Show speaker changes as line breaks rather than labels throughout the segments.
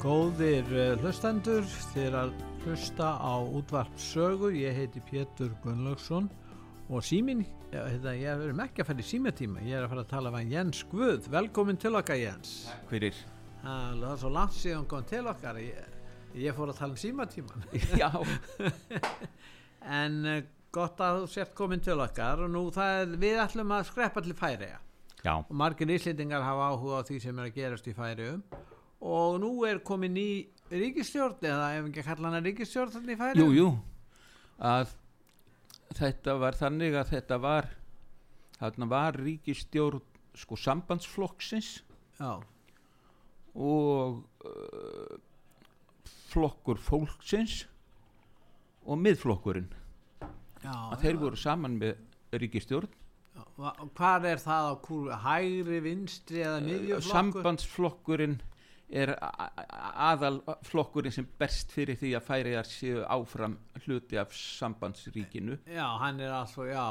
Góðir eh, hlustendur, þér að hlusta á útvarp sögu, ég heiti Pétur Gunnlaugsson og símin, ég, ég erum ekki að fara í símatíma, ég er að fara að tala við Jens Guð, velkomin til okkar Jens.
Fyrir,
Það er svo langt síðan kom til okkar, ég, ég fór að tala um símatíman.
já,
En eh, gott að þú sért komin til okkar og nú það er, við ætlum að skreppa til færiða.
já,
og margir íslendingar hafa áhuga á því sem er að gerast í færiðum og nú er komin ný ríkistjórn eða ef ekki að kalla hana ríkistjórn þannig í
jú,
færiðum
jú, að þetta var þannig að þetta var, þarna var ríkistjórn sko sambandsflokksins
Já,
og uh, flokkur fólksins og miðflokkurinn,
já,
að þeir voru saman með ríkistjórn,
Hvað er það á kúru? Hægri, vinstri
Eh,
eða miðjuflokkur?
sambandsflokkurinn er aðalflokkurinn sem berst fyrir því að færiðar séu áfram hluti af sambandsríkinu
Já, hann er alltaf, já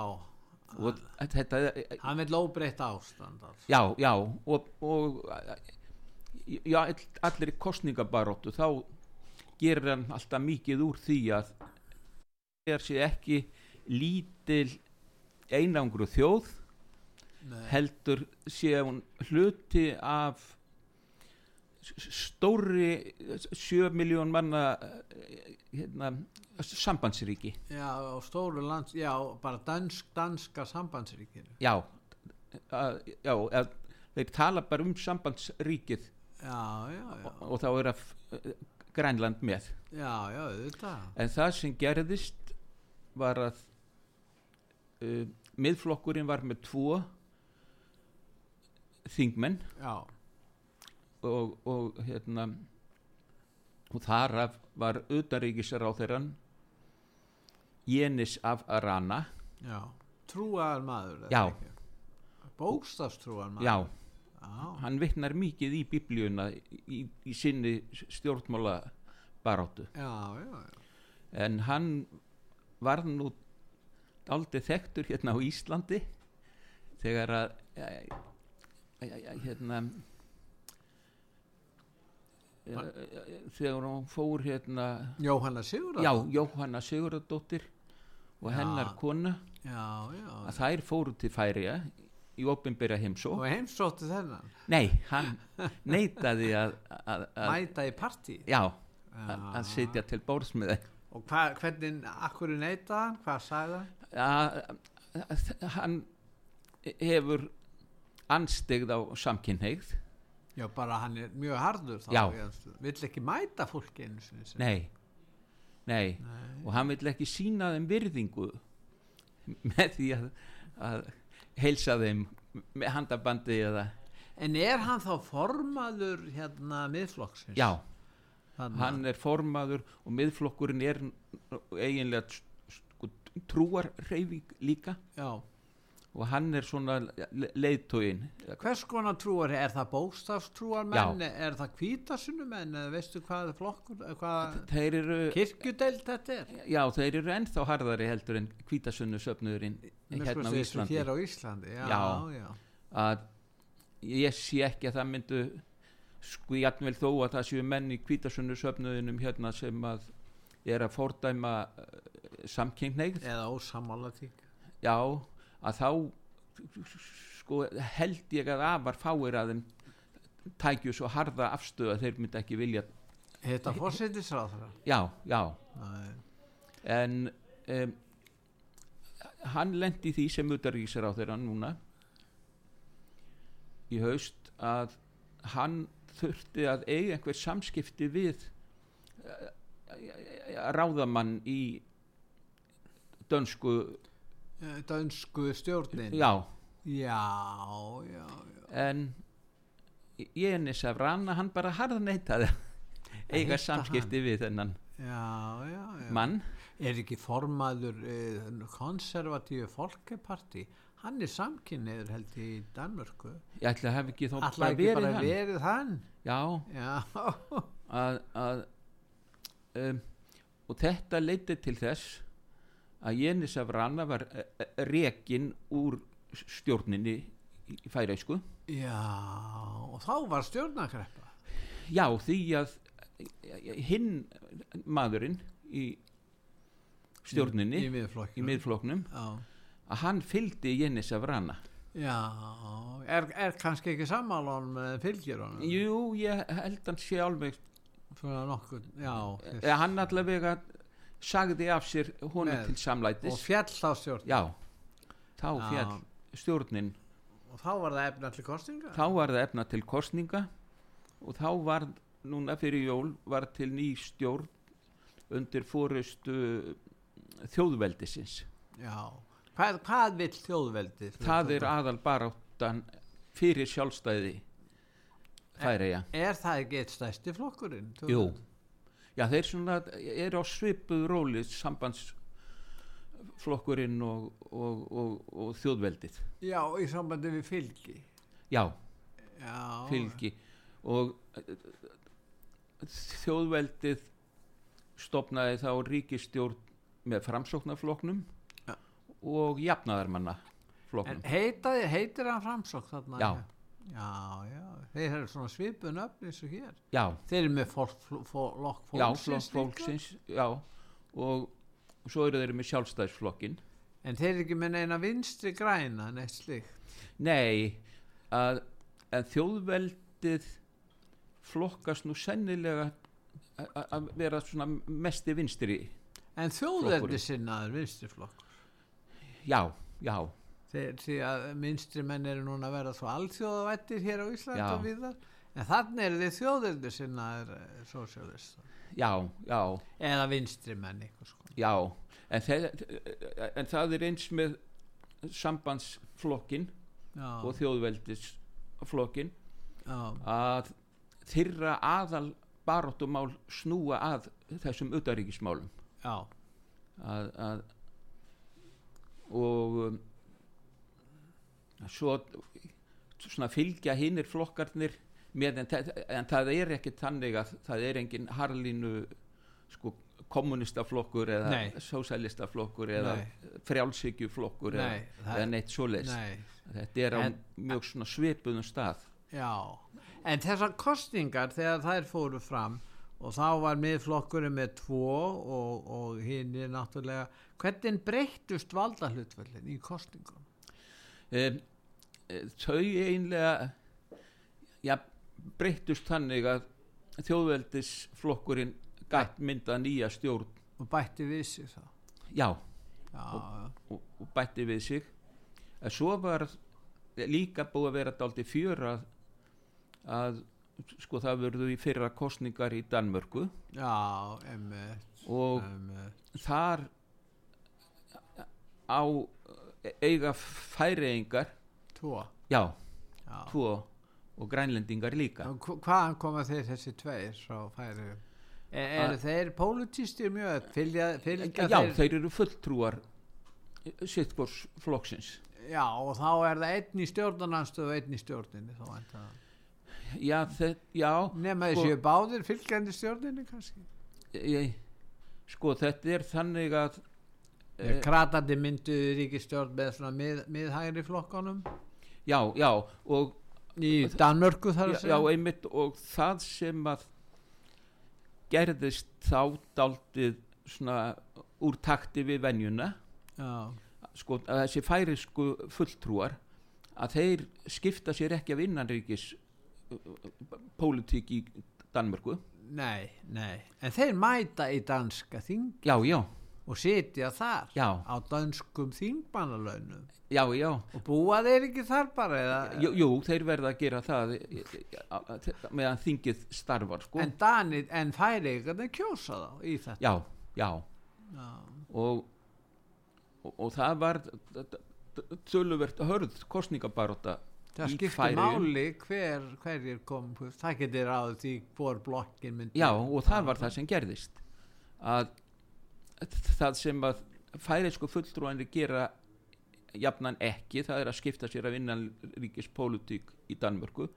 og þetta
Hann vil óbreytt ástand alls.
já, já og, og já, all- allir kostningabaróttu þá gerir hann alltaf mikið úr því að þegar sé ekki lítil einangru þjóð
Nei,
heldur sé hún hluti af s- stórri 7 miljón manna eh, hérna, sambandsríki
Já, á stóru lands Já, bara dansk, danska sambandsríkinu
já, að, já að, þeir tala bara um sambandsríkið
Já, já, já
og, og þá er að eh, Grænland með
Já, já, auðvitað
en það sem gerðist var að uh, miðflokkurinn var með tvo þingmenn
Já,
og, og hérna og þar af var utanríkisaráþeran Jenis af Arana
já Trúar maður er
Já.
það ekki? Bókstafstrúar maður
já,
Já,
hann vitnar mikið í biblíuna í, í sinni stjórnmála baráttu
já, já,
en hann var nú aldrei þekktur hérna á Íslandi þegar að e, e, e, hérna e, e, e, þegar hún fór hérna
já. Jóhanna Sigurðar?
já, Jóhanna Sigurðardóttir og hennar
Já.
kona
Já, já.
að þær fóru til færiða í opinbyrja heimsó
Og heimsóttu þennan,
nei, hann neitaði að, að, að
mæta í partí.
já, að, að sitja til bórs með þeim
Og hva, hvernig, akkur neyta hann, hvað sagði hann?
að að- hann hefur anstegð á samkynneigð
Já, bara hann er mjög harður þá.
Já.
Vill ekki mæta fólki einu sinni sem.
nei, nei
Nei.
og hann vill ekki sína þeim virðingu með því að, að heilsa þeim með handabandi eða
En er hann þá formaður hérna miðflokksins?
já,
Þannig,
hann er formaður og miðflokkurinn er nú eiginlega s- sko, trúarreifing líka
Já.
og hann er svona le- leiðtoginn
Hvers konar trúar, er það bókstafstrúarmenn, er það kvítasunumenn, eða veistu hvað flokkur, hvað
þeir eru
kirkjudeild þetta er?
Já, þeir eru ennþá harðari heldur en hvítasunnu söfnuðurinn
Mér
hérna á
sko segir
Íslandi
Hér á Íslandi, já,
Já.
já.
að ég sé ekki að það myndu sko ég atmvel þó að það séu menn í hvítasunnu söfnuðinum hérna sem að er að fordæma uh, samkynneigð
eða ósamála tík
já, að þá sko held ég að afar fáir að þeim tækju svo harða afstöð að þeir myndi ekki vilja
heita fórsetisráðra
já, já en um, hann lendi því sem utarísar á þeirra núna í haust að hann þurfti að eiga einhver samskipti við eh, eh, ráðamann í dönsku
Eh, Dönsku stjórnin.
já,
Já, já, já.
en Jénis af Rana hann bara harðneitaði að eiga
hitta
samskipti við þennan
Já, já, já.
mann
Er ekki formaður eh, konservatíu fólkeparti? Hann er samkynniður held ég í Danmörku.
ég ætla að hafa ekki þó
Alla
bara
ekki
verið
bara
hann
verið hann.
já,
Já,
að, að um, og þetta leiti til þess að Jénis af Rana var eh, rekin úr stjórninni í í færeysku
já, og þá var stjórnakreppa.
já því að eh, hinn maðurinn í stjórninni
Í
í,
miðflokkinu.
miðfloknum
Já,
að hann fylgdi Jénis af Rana
já. Er, er kannski ekki sammálun með fylgjur honum?
jú ég held hann sé alveg
Svona nokkur, já. þess-
eða hann allavega sagði af sér honum
Með-
til samlætis
Og fjall þá stjórn.
já, þá
Já.
fjall stjórnin
Og þá var það efna til kostinga.
þá var það efna til kostninga og þá var núna fyrir jól var til ný stjórn undir fórustu þjóðveldisins
Já. Hvað, hvað vill þjóðveldið?
það er aðal baráttan fyrir sjálfstæði færiða
Er það ekki eitt stæsti flokkurinn? Þú-
Jú. já þeir svona eru á svipuð róli sambandsflokkurinn og, og, og, og þjóðveldið
Já, í sambandi við fylgi.
já,
Já.
fylgi og eh, þjóðveldið stopnaði þá ríkistjórn með framsóknarfloknum
Ja.
og jafnaðarmanna
En
floknum
heitaði, heitir hann framsókn þarna?
Já.
Já, já. Þeir eru svona svipu nöfn eins og hér.
já,
Þeir eru með fólk, fló, fló, lokk
já,
fólksins.
flokk
líka.
fólksins já, og svo eru þeir með sjálfstæðisflokkin
En þeir eru ekki með neina vinstri græna, neitt slíkt.
nei, að, að þjóðveldið flokkast nú sennilega a- a- að vera svona mesti vinstri
En þjóðveldi sinnaður vinstri flokk.
já, já,
Þeir, því að vinstri menn eru núna að vera svo alþjóðavættir hér á Íslandi
Já.
og viðar. En þannig eru þið þjóðveldi sinnaður sósjálista.
já, já
eh, Eða vinstri menn, eitthvað sko.
Já, en, þe- en það er eins með sambandsflokkin
Já,
og þjóðveldisflokkin
já.
að þeirra aðal baróttumál snúa að þessum utaríkismálum
Já,
að, að, og um, svo svona fylgja hinnir flokkarnir með en, það- en það er ekki þannig að það er engin harlínu sko kommunistaflokkur eða
Nei.
sósælistaflokkur eða
Nei.
frjálsíkjuflokkur eða,
Nei, það-
eða neitt svoleiðs
nei,
þetta er á
En-
mjög svona svipuðum stað
já. En þessar kostningar þegar þær fóru fram og þá var miðflokkurinn með tvo og, og hinn er náttúrulega, hvernig breyttust valdahlutföllin í kostningum?
um, þau einlega já, breyttust þannig að þjóðveldisflokkurinn gætt mynda nýja stjórn
Og bætti við sig þá.
já,
Já,
og, og bætti við sig en svo var líka búið að vera daldi fjör að, að sko það verðu í fyrra kostningar í Danmörku
já, emmitt,
og
emmitt,
þar á e, eiga færeyingar
tvo.
já,
Já.
tvo og grænlendingar líka
Og hva- Hvaðan koma þeir þessi tveir frá færi? Er, eru þeir pólitístir mjög? Fylgja, fylgja
Já, þeir eru fulltrúar sittbors flokksins.
Já, og þá er það einn í stjórnarnanstöð og einn í stjórninni þá enda.
Já, þeir, já,
Nefna
Sko-
þessi báðir fylgjandi stjórninni kannski.
ég, sko þetta er þannig að E-
Eh, Kratandi mynduðu ríkistjórn með svona mið, miðhægri flokkanum
já, já, og
í Danmörku þar að
já,
segja.
einmitt og það sem að gerðist þá daldið svona úr takti við venjuna
já,
sko að þessi færisku fulltrúar að þeir skipta sér ekki af innanríkis uh, uh, pólitík í Danmörku
Nei, nei. En þeir mæta í danska þing
já, já,
og sitja þar
Já.
á dönskum þingmannalaunum
já, já
og búa þeir ekki þar bara eða,
Jú, jú, þeir verða að gera það e, e, e, a- a- meðan þingið starfar sko.
en danir en færi eitthvað að kjósa þá í þetta
já, já
Já.
og, og, og það var töluvert hörð kostningabaróta
það
í
skiptir
Færeyjum.
máli hver, hverjir kom það getur ráð því hvor blokkin myndi
já og það var það sem gerðist að það sem að færiðsku fulltrúanir gera jafnan ekki, það er að skipta sér af innanríkispólitík í Danmörku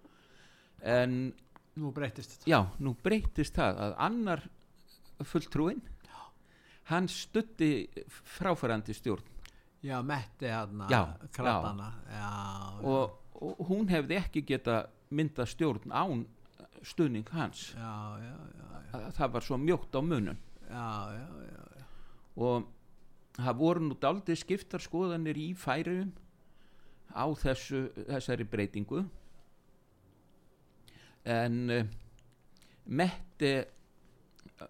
en
nú breytist þetta
já, nú breytist það að annar fulltrúin hann stutti fráfærandi stjórn
já, metti hann
Já,
krabbana já, já,
og, og hún hefði ekki geta mynda stjórn án stuðning hans
já, já, já,
Að það var svo mjótt á munum
já, já, já.
og það voru nú daldið skiptar skoðanir í færiðum á þessu, þessari breytingu en uh, Mette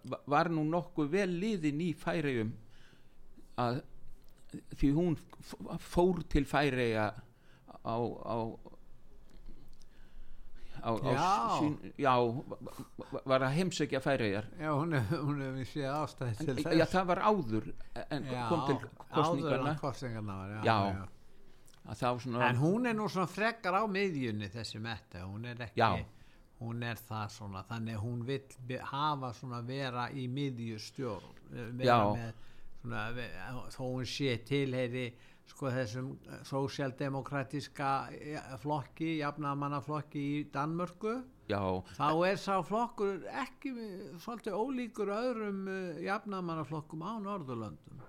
va- var nú nokkuð vel liðin í færiðum að því hún f- fór til færiða á, á á, á
Já.
sín, já va- va- var að heimsækja færiðar
já hún hefur hef hún hefur séð ástæði til þess
Já, það var áður en kom til
áður
kostningarna
en kostningarna var, já,
Já.
já. já.
að þá svona
En hún er nú svona frekar á miðjunni þessi metta, hún er ekki
Já.
hún er það svona, þannig að hún vill be- hafa svona vera í miðjustjórn eh, vera
Já.
með svona, ve- þó hún sé tilheyri sko þessum sósjaldemokratiska eh, flokki, jafnamannaflokki í Danmörku
já,
þá er sá flokkur ekki eh, svolítið ólíkur öðrum jafnamannaflokkum á Norðurlöndum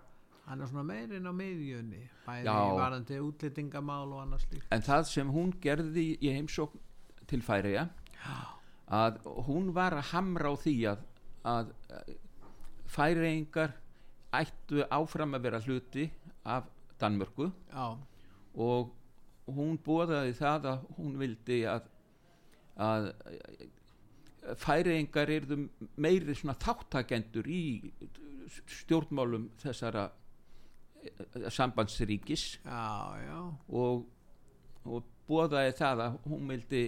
hann er svona meirinn á miðjunni bæði
Já.
varandi útlýtingamál og annars líka
en það sem hún gerði í heimsókn til Færiða að hún var að hamra á því að, að Færiðingar ættu áfram að vera hluti af Danmörku
Já,
og hún bóðaði það að hún vildi að, að færiðingar eru meiri svona þáttakendur í stjórnmálum þessara eh, sambandsríkis
já, já,
og, og bóðaði það að hún vildi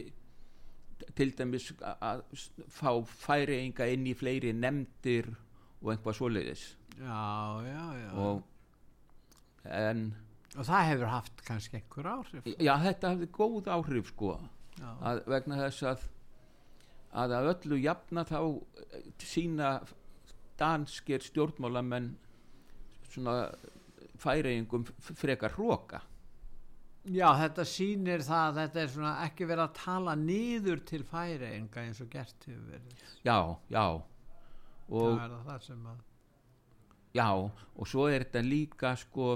til dæmis a- að s- fá færiðinga inn í fleiri nefndir og einhvað svoleiðis
já, já, já. Og,
og en
það hefur haft kannski einhver áhrif.
já þetta hafði góð áhrif sko
Já,
að vegna þess að að að öllu jafna þá eh, sína danskir stjórnmálamenn svona færeigingum frekar hróka
já þetta sýnir það að þetta er svona ekki verið að tala niður til færi enga eins og gert hefur verið.
já, já og,
það er það sem að,
já, og svo er þetta líka sko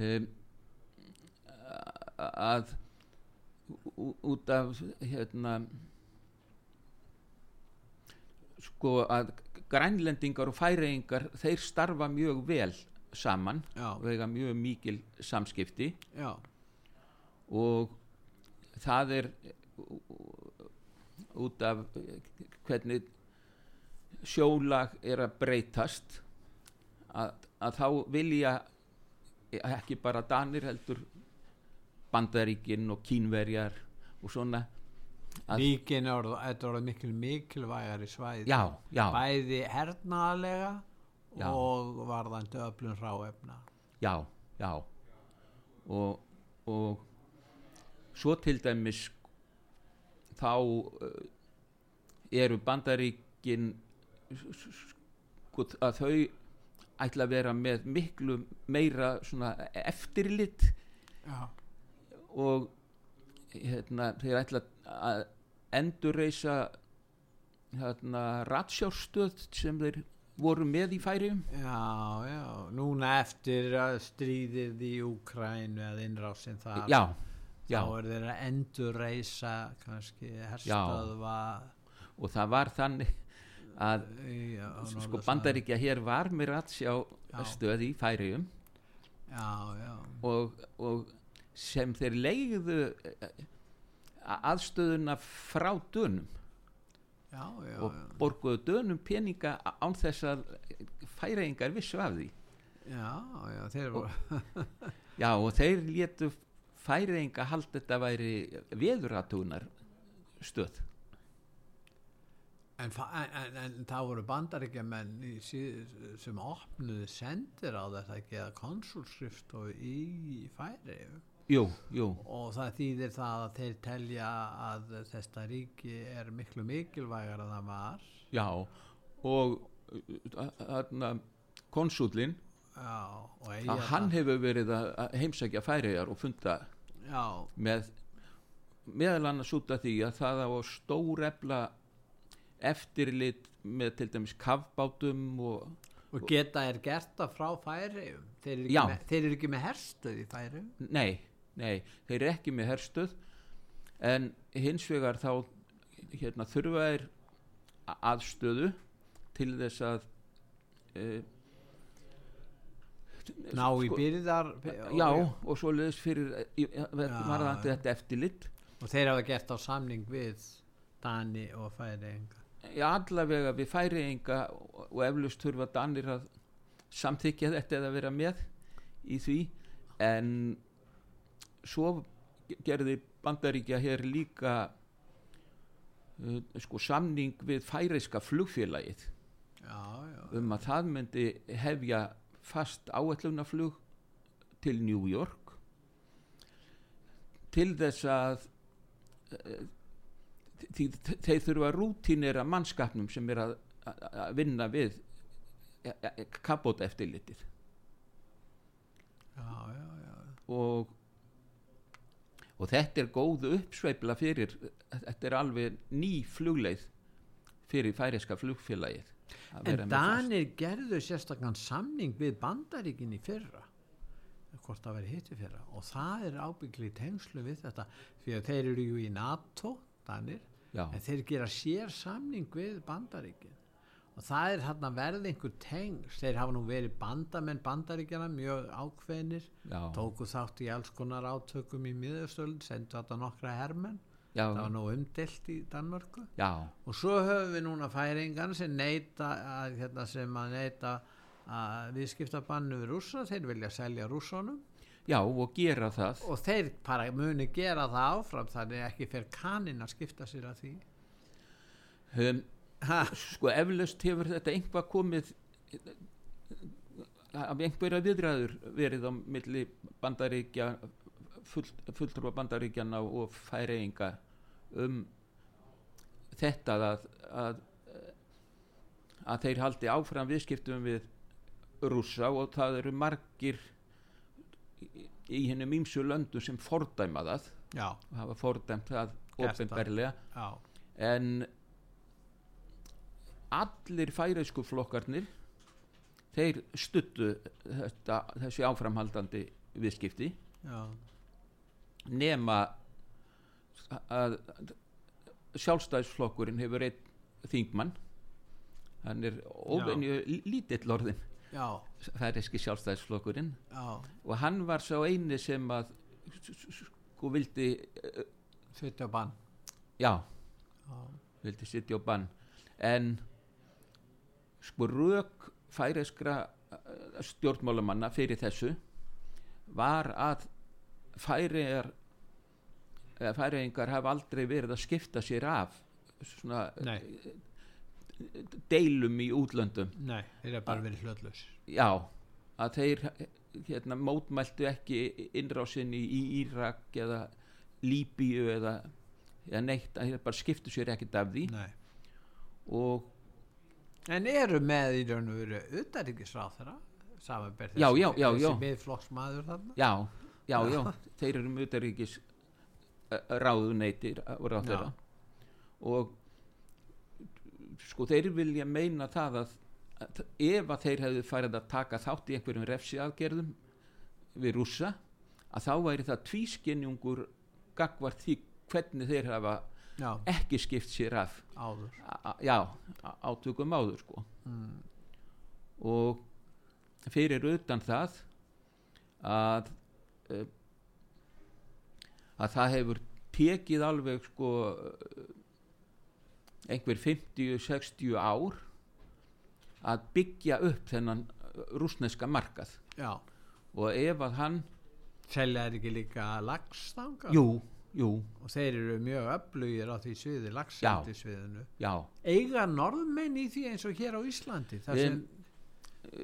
um, að ú- út af hérna sko að grænlendingar og færeigingar þeir starfa mjög vel saman og
já,
eiga mjög mikil samskipti
já,
og það er út af hvernig sjólag er að breytast að, að þá vilja ekki bara Danir heldur Bandaríkin og Kínverjar og svona Að-
líkin er orðið, þetta er orðið mikil mikilvægari svæði.
já, já,
Bæði hernaðalega
Já.
og varðandi öflun ráefna.
já, já og, og svo til dæmis þá eh, eru bandaríkin sko, að þau ætla að vera með miklu meira svona eftirlit
Já,
og hérna, þeir ætla að endurreisa hérna, ratsjárstöð sem þeir voru með í færiðum
já, já, núna eftir að stríðið í Úkrænu eða innrásin þar.
já, já
þá er þeir að endurreisa kannski herstöðva
og það var þannig að
í- á
sko
norðursvæðinu.
bandaríkja hér var með ratsjá
Já.
stöð í færiðum
já, já,
og, og sem þeir leiðu eh, aðstöðuna frá dönum
já, já,
og borguðu dönum peninga án þess að færaðingar vissu af því
já, já, þeir voru,
já og þeir létu færaðinga hald þetta væri veðuratunar stöð
en, fa- en, en, en það voru bandaríkjamenn í síð, sem opnuðu sendir á þetta ekki eða konsulskrift og í færi
jú, jú,
og það þýðir það að þeir telja að þetta ríki er miklu mikilvægar að það var
já og uh, þarna konsúlin
já, og
að
eiga
hann hefur verið að að heimsækja færiðar og funda
já,
með meðal annars út af því að það á að stórefla eftirlit með til dæmis kafbátum og
og geta er gert það frá færi þeir eru
Já.
ekki, með, þeir eru ekki með herstuð í færi
nei, nei, þeir eru ekki með herstöð en hins vegar þá hérna, þurfa þeir a- aðstöðu til þess að uh,
ná í
Sko-
byrðar
já og svo leðis fyrir í- í- varðandi
já.
þetta eftirlit
og þeir hafa gert á samning við Dani og Færeyinga
Já, allavega við færiðinga og og eflaust þurfa Danir að samþykja þetta eða vera með í því en svo gerði Bandaríkja hér líka uh, sko, samning við færiðska flugfélagið
já, já,
um að það myndi hefja fast áætlunaflug til New York til þess að eh, því þeir þurfa rútínir að mannskapnum sem er að, að, að vinna við e, kapóta eftirlitið
já, já, já.
og og þetta er góð uppsveifla fyrir þetta er alveg ný flugleið fyrir færiska flugfélagið að vera
en
með fast-
Danir gerðu sérstakann samning við Bandaríkin í fyrra hvort það veri hitt í fyrra og það er ábyggli tengslu við þetta því að þeir eru jú í NATO Danir,
Já.
en þeir gera sér samning við Bandaríkin og það er hann að verða einhver tengs þeir hafa nú verið bandamenn Bandaríkjana mjög ákveðnir
Já.
tóku þátt í alls konar átökum í miðurstöld, sendu þetta nokkra hermenn
já,
það var nú umdelt í Danmörku
já,
og svo höfum við núna færingan sem neyta að, hérna, sem að neyta að viðskipta bannu við rússa, þeir vilja selja rússunum
Já, og gera það.
og þeir bara muni gera það áfram þannig ekki fer kaninn að skipta sér að því
Um,
ha,
sko, eflaust hefur þetta einhvað komið eh, af einhverja viðræður verið á milli bandaríkja, full, fulltrúa bandaríkjana og færeyinga um þetta að, að, eh, að þeir haldi áfram viðskiptum við rússa og það eru margir í- í hennum ímsu löndu sem fordæma það,
já,
hafa fordæmt það
Gert það.
ofinberlega
já,
en allir færeisku flokkarnir þeir stuttu þetta, þessi áframhaldandi viðskipti
já
nema að sjálfstæðisflokkurinn hefur einn þingmann hann er óvenju lítill orðin
já,
færeiski sjálfstæðisflokkurinn
já,
og hann var sá eini sem að sko vildi eh,
setja bann
já,
já,
vildi sitja á bann en sko rauk færeskra stjórnmálamanna fyrir þessu var að færiðar eða færiðingar hafa aldrei verið að skipta sér af svona
nei,
deilum í útlöndum
nei þeir eru bara verið hlutlaus
já, að þeir hérna, mótmæltu ekki innrásinni í Írak eða Líbíu eða, eða neitt, að þeir bara skiptu sér ekkert af því
nei.
og
en eru með í raun og veru utanríkisráð þeirra samanberð
Já, já, já, já.
miðflokksmaður þarna
já, já, já þeir eru um utaríkis ráðuneytir og ráðherra og sko þeir vilja meina það að, að ef að þeir hefðu farið að taka þátt í einhverjum refsiaðgerðum við rússa að þá væri það tvískinjungur gagvart því hvernig þeir hafa
já,
ekki skipt sér af
áður
a- já, á- átökum áður sko og fyrir utan það að eh, að það hefur tekið alveg sko eh, einhver 50-60 ár að byggja upp þennan rúsneska markað
já.
og ef að hann
Selja er ekki líka lagstanga?
jú, jú,
Og þeir eru mjög öflugir á því sviði, lagsendi sviðinu.
já
Eiga norðmenn í því eins og hér á Íslandi? Það
Við-
sem,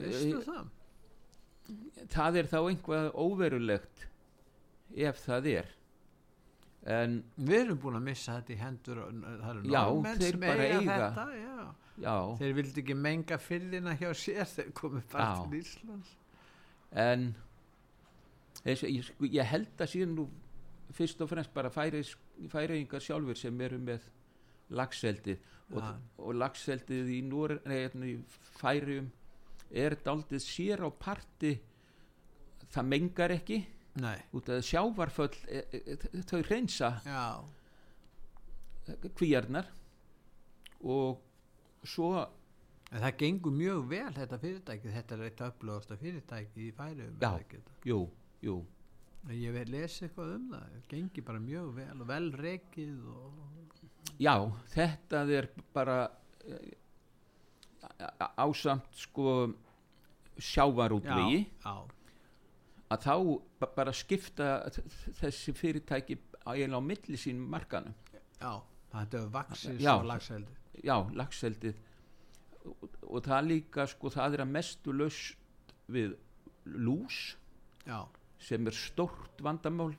veistu það?
eh, það er þá einhvað óverulegt ef það er en
Við erum búin að missa þetta í hendur, það eru
Já,
norðmenn
þeir
sem
bara
eiga,
eiga.
þetta, já.
já
Þeir vildi ekki menga fyrðina hjá sér, þeir komu bara
Já.
til Íslands.
en þess, ég, sko, ég held að síðan nú fyrst og fremst bara færeis- færeyingar sjálfur sem eru með lagseldið og,
Ja.
og lagseldið í, Nor- nei, hérna í færiðum er daldið sér á parti það mengar ekki
Nei,
út að sjávarföll e, e, e, þau reynsa
já,
kvíarnar og svo
en það gengur mjög vel þetta fyrirtæki, þetta er eitt öflugasta fyrirtæki í færiðum.
Já. jú, jú,
Ég vil lesa eitthvað um það, það gengi bara mjög vel og vel rekið og...
Já, þetta er bara eh, á- á- ásamt sko sjávarútvegi
Já,
að þá ba- bara skipta þ- þessi fyrirtæki á- eiginlega á milli sín markanum.
já, já, þetta er vaksins
Já.
og lagseldi.
Já, lagseldið og, og það líka sko það er að mestu laus við lús
Já,
sem er stórt vandamál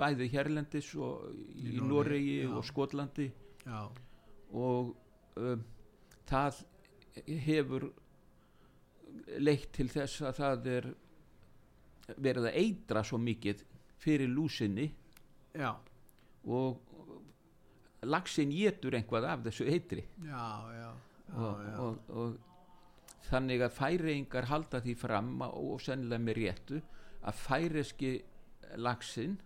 bæði hérlendis og í,
Í
í
Noregi,
Noregi
já.
og Skotlandi
já,
og um, það hefur leitt til þess að það er verið að eitra svo mikið fyrir lúsinni
já,
og laxin getur einhvað af þessu eitri
já, já, já,
og,
já.
og, og þannig að færeyingar halda því fram og, og sennilega með réttu að færeski laxin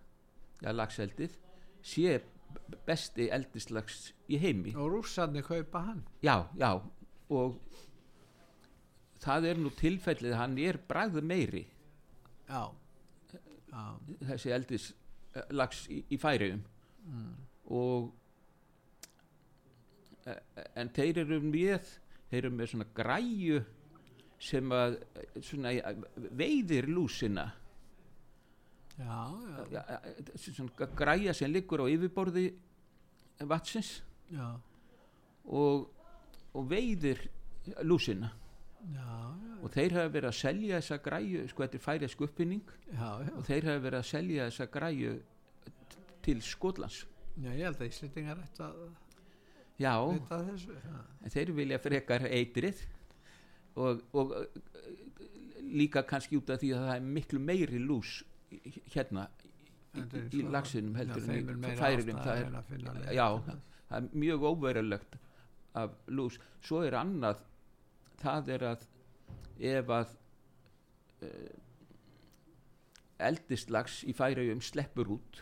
ja, laxeldið sé besti eldislags í heimi
Og rússarnir kaupa hann.
já, já og það er nú tilfellið hann er bragð meiri
Já, já,
þessi eldis eh, lax í, í færiðum og eh, en þeir eru með þeir eru með svona græju sem að eh, svona, eh, veiðir lúsina
já, já,
Ja, eh, eh, svona græja sem liggur á yfirborði vatsins
já,
og, og veiðir lúsina
já,
og þeir hafa verið að selja þessa græju sko þetta er færiðsk uppfinning
já, já,
og þeir hafa verið að selja þessa græju t- til Skotlands
já, ég held að Íslendingar ætti að
já,
vita af þessu. Já,
en þeir vilja frekar eitrið og, og eh, líka kannski út af því að það er miklu meiri lús í- í- hérna í,
Þetta er
í
svo-
laxinum heldur
já,
en
þeim er
í
meira
færiðum
ástæða
það
en að finna
er,
leið
já,
til þess.
það er mjög óverulegt af lús svo er annað það er að ef að uh, eldislags í færiðum sleppur út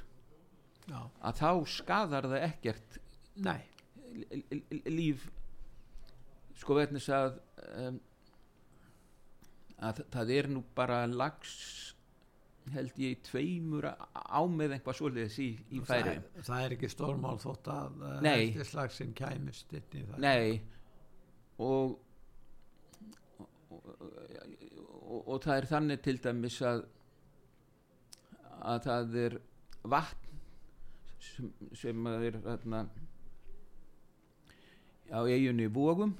já,
að þá skadar það ekkert
nei,
l- l- l- líf sko vegna þess að, um, að það er nú bara lags held ég í tveimur á- á með einhvað svoleiðis í, í
það,
færi
það er ekki stórmál þótt að
Nei.
eftir slagsinn kæmist inn í það.
nei og og, og og það er þannig til dæmis að að það er vatn sem, sem að er þarna á eiginni vógum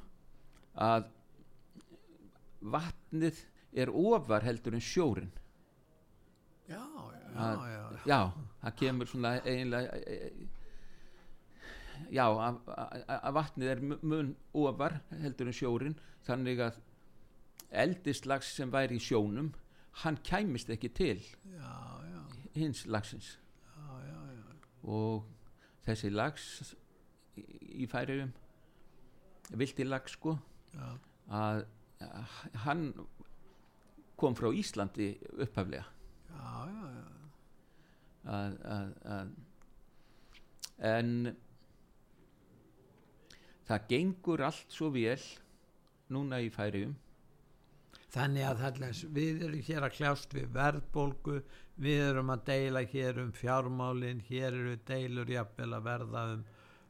að vatnið er ofar heldur en sjórin
Já, já,
Að-
já, já,
já, það kemur svona eiginlega e, e, já, að- að að vatnið er mu- mun ofar heldur en sjórin þannig að eldislags sem væri í sjónum hann kæmist ekki til
já, já,
hins lagsins
já, já, já.
og þessi lags í í færiðum vilti lags sko
Já.
að að hann kom frá Íslandi upphaflega
Já, já, já,
að, að, að en það gengur allt svo vel núna í færiðum
þannig að þallins, við erum hér að kljást við verðbólgu, við erum að deila hér um fjármálin, hér eru deilur jafnvel að verða um,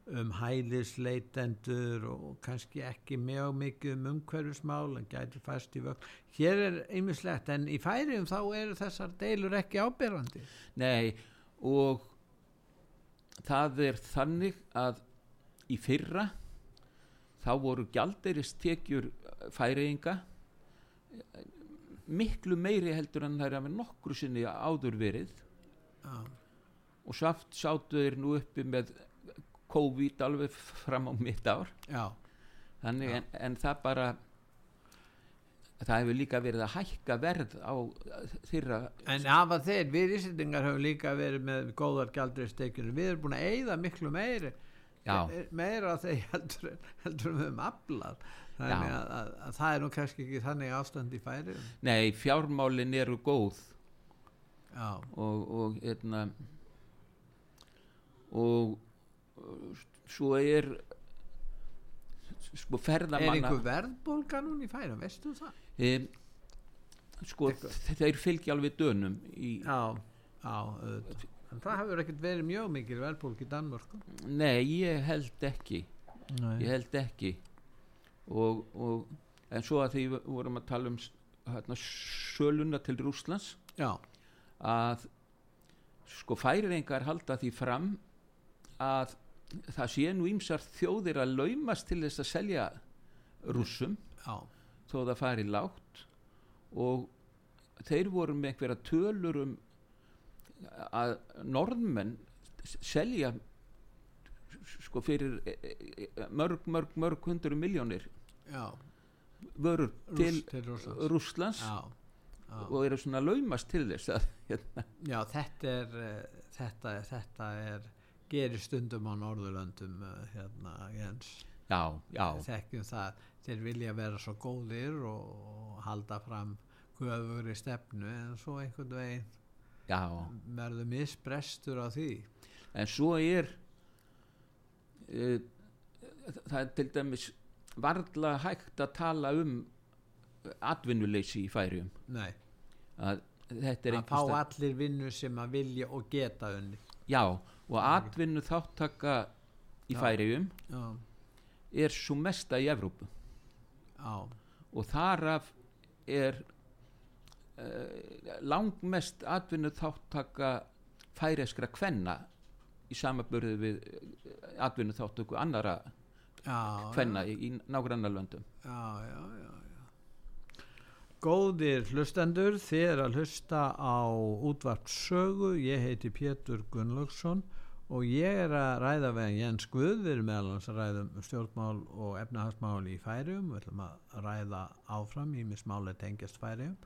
um hælisleitendur og kannski ekki mjög mikið um umhverfismál en gæti fæst í vögn. Hér er einmislegt en í færiðum þá eru þessar deilur ekki ábyrrandi.
Nei, og það er þannig að í fyrra þá voru eh, gjaldeiristekjur færiðinga miklu meiri heldur en það er að með nokkru sinni áður verið
Já,
og saft sáttu þeir nú uppi með COVID alveg fram á mitt ár
já,
Þannig,
Já.
en, en það bara það hefur líka verið að hækka verð á þeirra
en hafa þeir, við Íslandingar höfum líka verið með góðar galdristekjur, við erum búin að eigða miklu meiri,
já,
Eh, meira af þeir heldur, en- heldur en við höfum aflað, þannig
Já.
að, að, að það er nú kannski ekki þannig ástand í færiðum.
nei, fjármálin eru góð
Já,
og og, hérna, og uh, svo er sko
er
ferðamanna
einhver verðbólga núna í færiðum, veistu það?
um, sko
Eitthvað.
þeir fylgja alveg dönum í,
Já, já, auðvitað. En það hefur ekkert verið mjög mikil verðbólg í Danmörku.
nei, ég held ekki
Nei.
ég held ekki og, og en svo að því við vorum að tala um s- hérna, söluna til Rúslands
Já,
að sko færingar halda því fram að það sé nú ýmsar þjóðir að laumast til þess að selja rússum
já,
þó það fari lágt og þeir voru með einhverja tölur um að norðmenn s- selja sko fyrir eh, eh, eh, mörg, mörg, mörg hundur miljónir
já.
vörur
Rúss-
til
til Rússlands.
Rússlands
Já, já.
og eru svona að laumast til þess að, hérna,
Já, þetta er eh, þetta, þetta er gerir stundum á Norðurlöndum eh, hérna Jens
já, já,
þekkjum það, þeir vilja vera svo góðir og, og halda fram guðugur í stefnu en svo einhvern veginn
já
verður misbrestur á því
en svo er uh, það er til dæmis varla hægt að tala um atvinnuleysi í færium
Nei,
að þetta er
að fá
einhvers staðar-
allir vinnu sem að vilja og geta unni
já, og atvinnu þáttaka í
Já.
færium
Já,
er svo mesta í Evrópu
já,
og þar af er uh, langmest atvinnu þáttaka færeskra kvenna í samaburði við atvinnu þáttöku annara
já
kvenna í, í nágrannarlöndum
Já, já, já, já. Góðir hlustendur, þið er að hlusta á útvarp sögu, ég heiti Pétur Gunnlaugsson og ég er að ræða við Jens Guð, við erum meðal hans að ræða um stjórnmál og efnahagsmál í færium, við ætlum að ræða áfram í mismáli tengjast færium.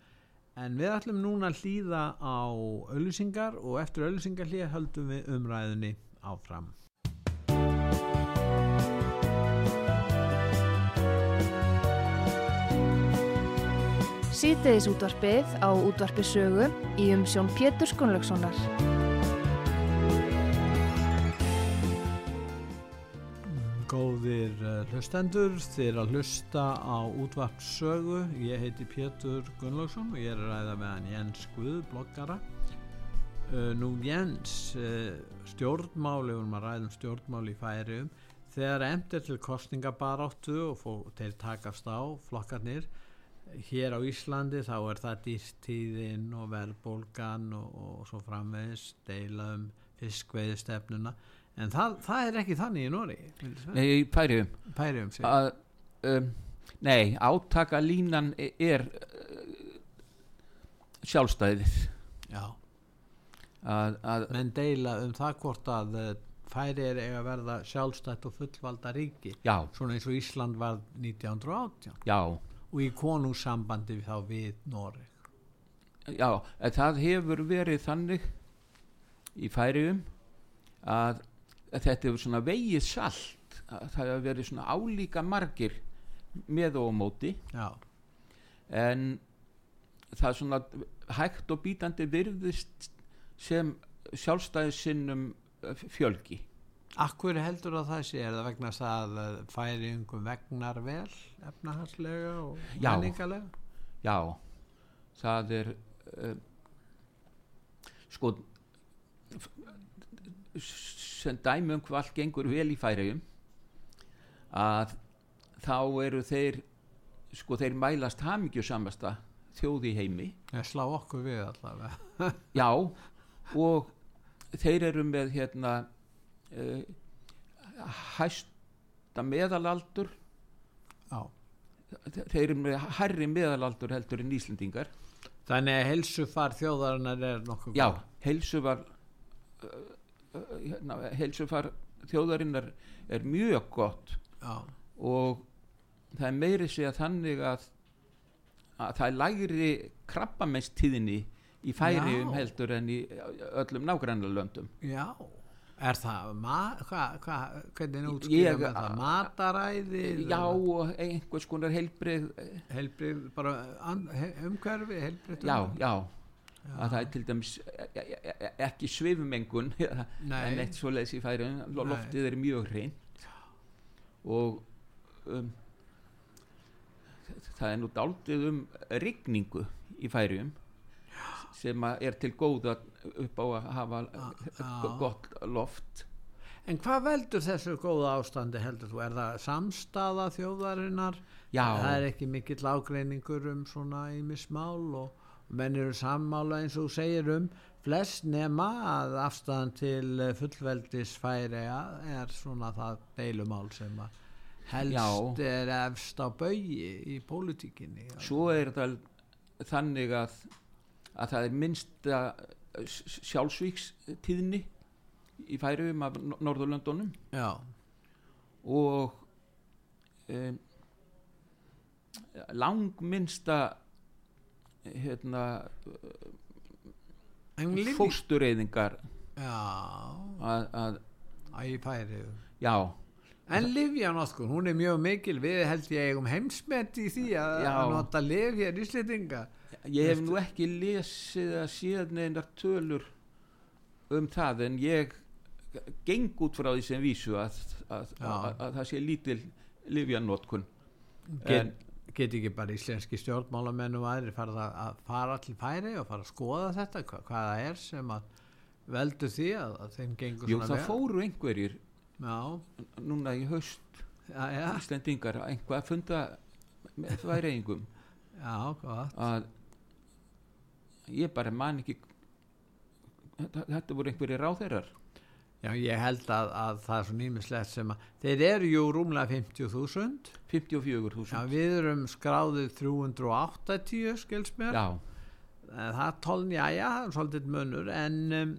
En við ætlum núna að hlýða á auðlýsingar og eftir auðlýsingar hlýða höldum við umræðinni áfram.
Síðdeis útvarpið á útvarpi sögu í umsjón Péturs Gunnlaugssonar.
Góðir eh, hlustendur, þið er að hlusta á útvarp sögu. Ég heiti Pétur Gunnlaugsson og ég er að ræða með hann Jens Guð, bloggara. Uh, nú Jens, uh, stjórnmál, ef við erum að ræða um stjórnmál í færium, þegar emt er til kostningabaráttu og fó, þeir takast á flokkarnir, hér á Íslandi þá er það dýrstíðin og verðbólgan og, og svo framvegis, deila um fiskveiðstefnuna, en það, það er ekki þannig í Nóri,
Nei, í færiðum
færium sig.
að, um, Nei, átakalínan e- er uh, sjálfstæðið
Já.
að, að,
Menn deila um það hvort að eh, færi er eiga að verða sjálfstætt og fullvalda ríki,
Já,
svona eins og Ísland var 1918.
já,
og í konungssambandi þá við Noreg
já en það hefur verið þannig í færiðum að, að þetta hefur svona vegið salt að það hefur verið svona álíka margir með og á móti
já,
en það er svona hægt og bítandi virðist sem sjálfstæðisinnum fjölgi
akkur heldur að það sé er það vegna þess að eh, færi yngum vegnar vel efnahagslega og
Já.
menningalega
já það er uh, eh, sko sem dæmi um hvað allt gengur vel í færiðum að þá eru þeir sko þeir mælast hamingjusamasta þjóð í heimi
Ég slá okkur við allavega.
já og þeir eru með hérna uh, hæsta meðalaldur
Já.
þeir eru með hærri meðalaldur heldur en Íslendingar
Þannig að helsufar þjóðarinnar er nokkuð.
já,
góð.
heilsufar uh, uh, hérna, heilsufar þjóðarinnar er mjög gott
Já.
og það er meiri segja þannig að, að það er lægri krabbamenstíðinni í færiðum
Já.
heldur en í eh, öllum nágrannalöndum
Já. Er það, ma, hva, hva, hvernig er
Ég-
útskýrað með það? Mataræði?
já og einhvers konar heilbrið
Helbrið, bara an, he, umhverfi, helbrið?
já, já að það er til dæmis e- e- e- ekki svifmengun
Nei.
en eitt svoleiðis í færiðum
Nei.
loftið er mjög hrein og um, það er nú dáltið um rigningu í færiðum sem að er til góða upp á að hafa
já.
gott loft
En hvað veldur þessu góða ástandi heldur þú? Er það samstaða þjóðarinnar?
Já.
Það er ekki mikill ágreiningur um svona ímismál og og menn eru sammála eins og þú segir um flest nema að afstæðan til eh, fullveldis færiða er svona það deilumál sem að helst er efst á baui í pólitíkinni.
svo er það þannig að, að það er minnsta sjálfsvíkstíðni í færiðum af Nor- Norðurlöndunum
Já,
og um, langminnsta hérna,
en lífi...
fóstureyðingar
Já,
að, að,
að í færiðum.
já,
En Livjan okkur, hún er mjög mikil, við held ég eigum heimsmet í því að,
Já.
að nota liv hér í Íslendinga.
ég hef nú ekki lesið að síðan neinar tölur um það en ég geng út frá því sem vísu að, að,
Já.
að, að það sé lítil livjanótkun
Get, get ekki bara íslenski stjórnmálamenn og aðri farið að, að fara til færi og fara að skoða þetta, hva, hvað það er sem að veldu því að, að þeim gengur
jú,
svona
það fóru einhverjir
Já,
núna í haust
já, já,
Íslendingar að einhvað að funda með þværeyingum
já, gott.
að ég bara man ekki þetta þetta voru einhverjir ráðherrar
Já, ég held að, að það er svona ímislegt sem að þeir eru jú rúmlega 50.000, já,
54.000
við erum skráðið 380 skils mér.
já,
Eh, það tólnja, já, það er svolítið munur en, um,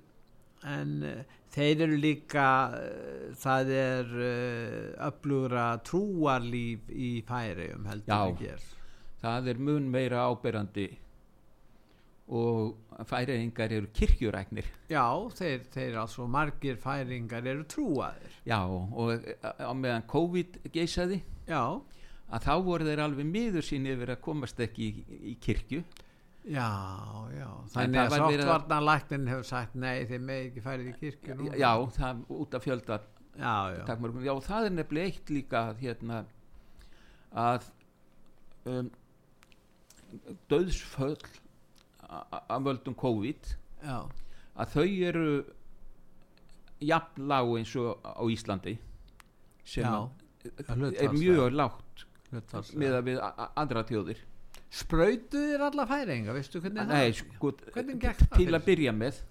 en eh, þeir eru líka eh, það er uh, öflugra trúarlíf í færiðum heldur
Já.
en hér
það er mun meira áberandi og færeyingar eru kirkjuræknir
já, þeir, þeir altså margir færingar eru trúaðir
já, og eh, á meðan COVID geisaði
já,
að þá voru þeir alveg miður sín yfir að komast ekki í, í kirkju
já, já þannig
það
að
var verið að-
sáttvarnanlæknin hefur sagt nei, þeir með ekki færið í kirkju núna."
já, það út af fjölda
já, já,
takmörgum, já, það er nefnilega eitt líka að, hérna að um, döðsföll að völdum COVID
já.
að þau eru jafn lág eins og á Íslandi sem
Já,
að- er
hlutfallslega.
mjög lágt
Hlutfallslega.
með að við a- a- aðra þjóðir
sprautuðu þér alla færinga, veistu hvernig
Nei,
það
sko,
Hvernig gekk það
til
fyrir
að byrja með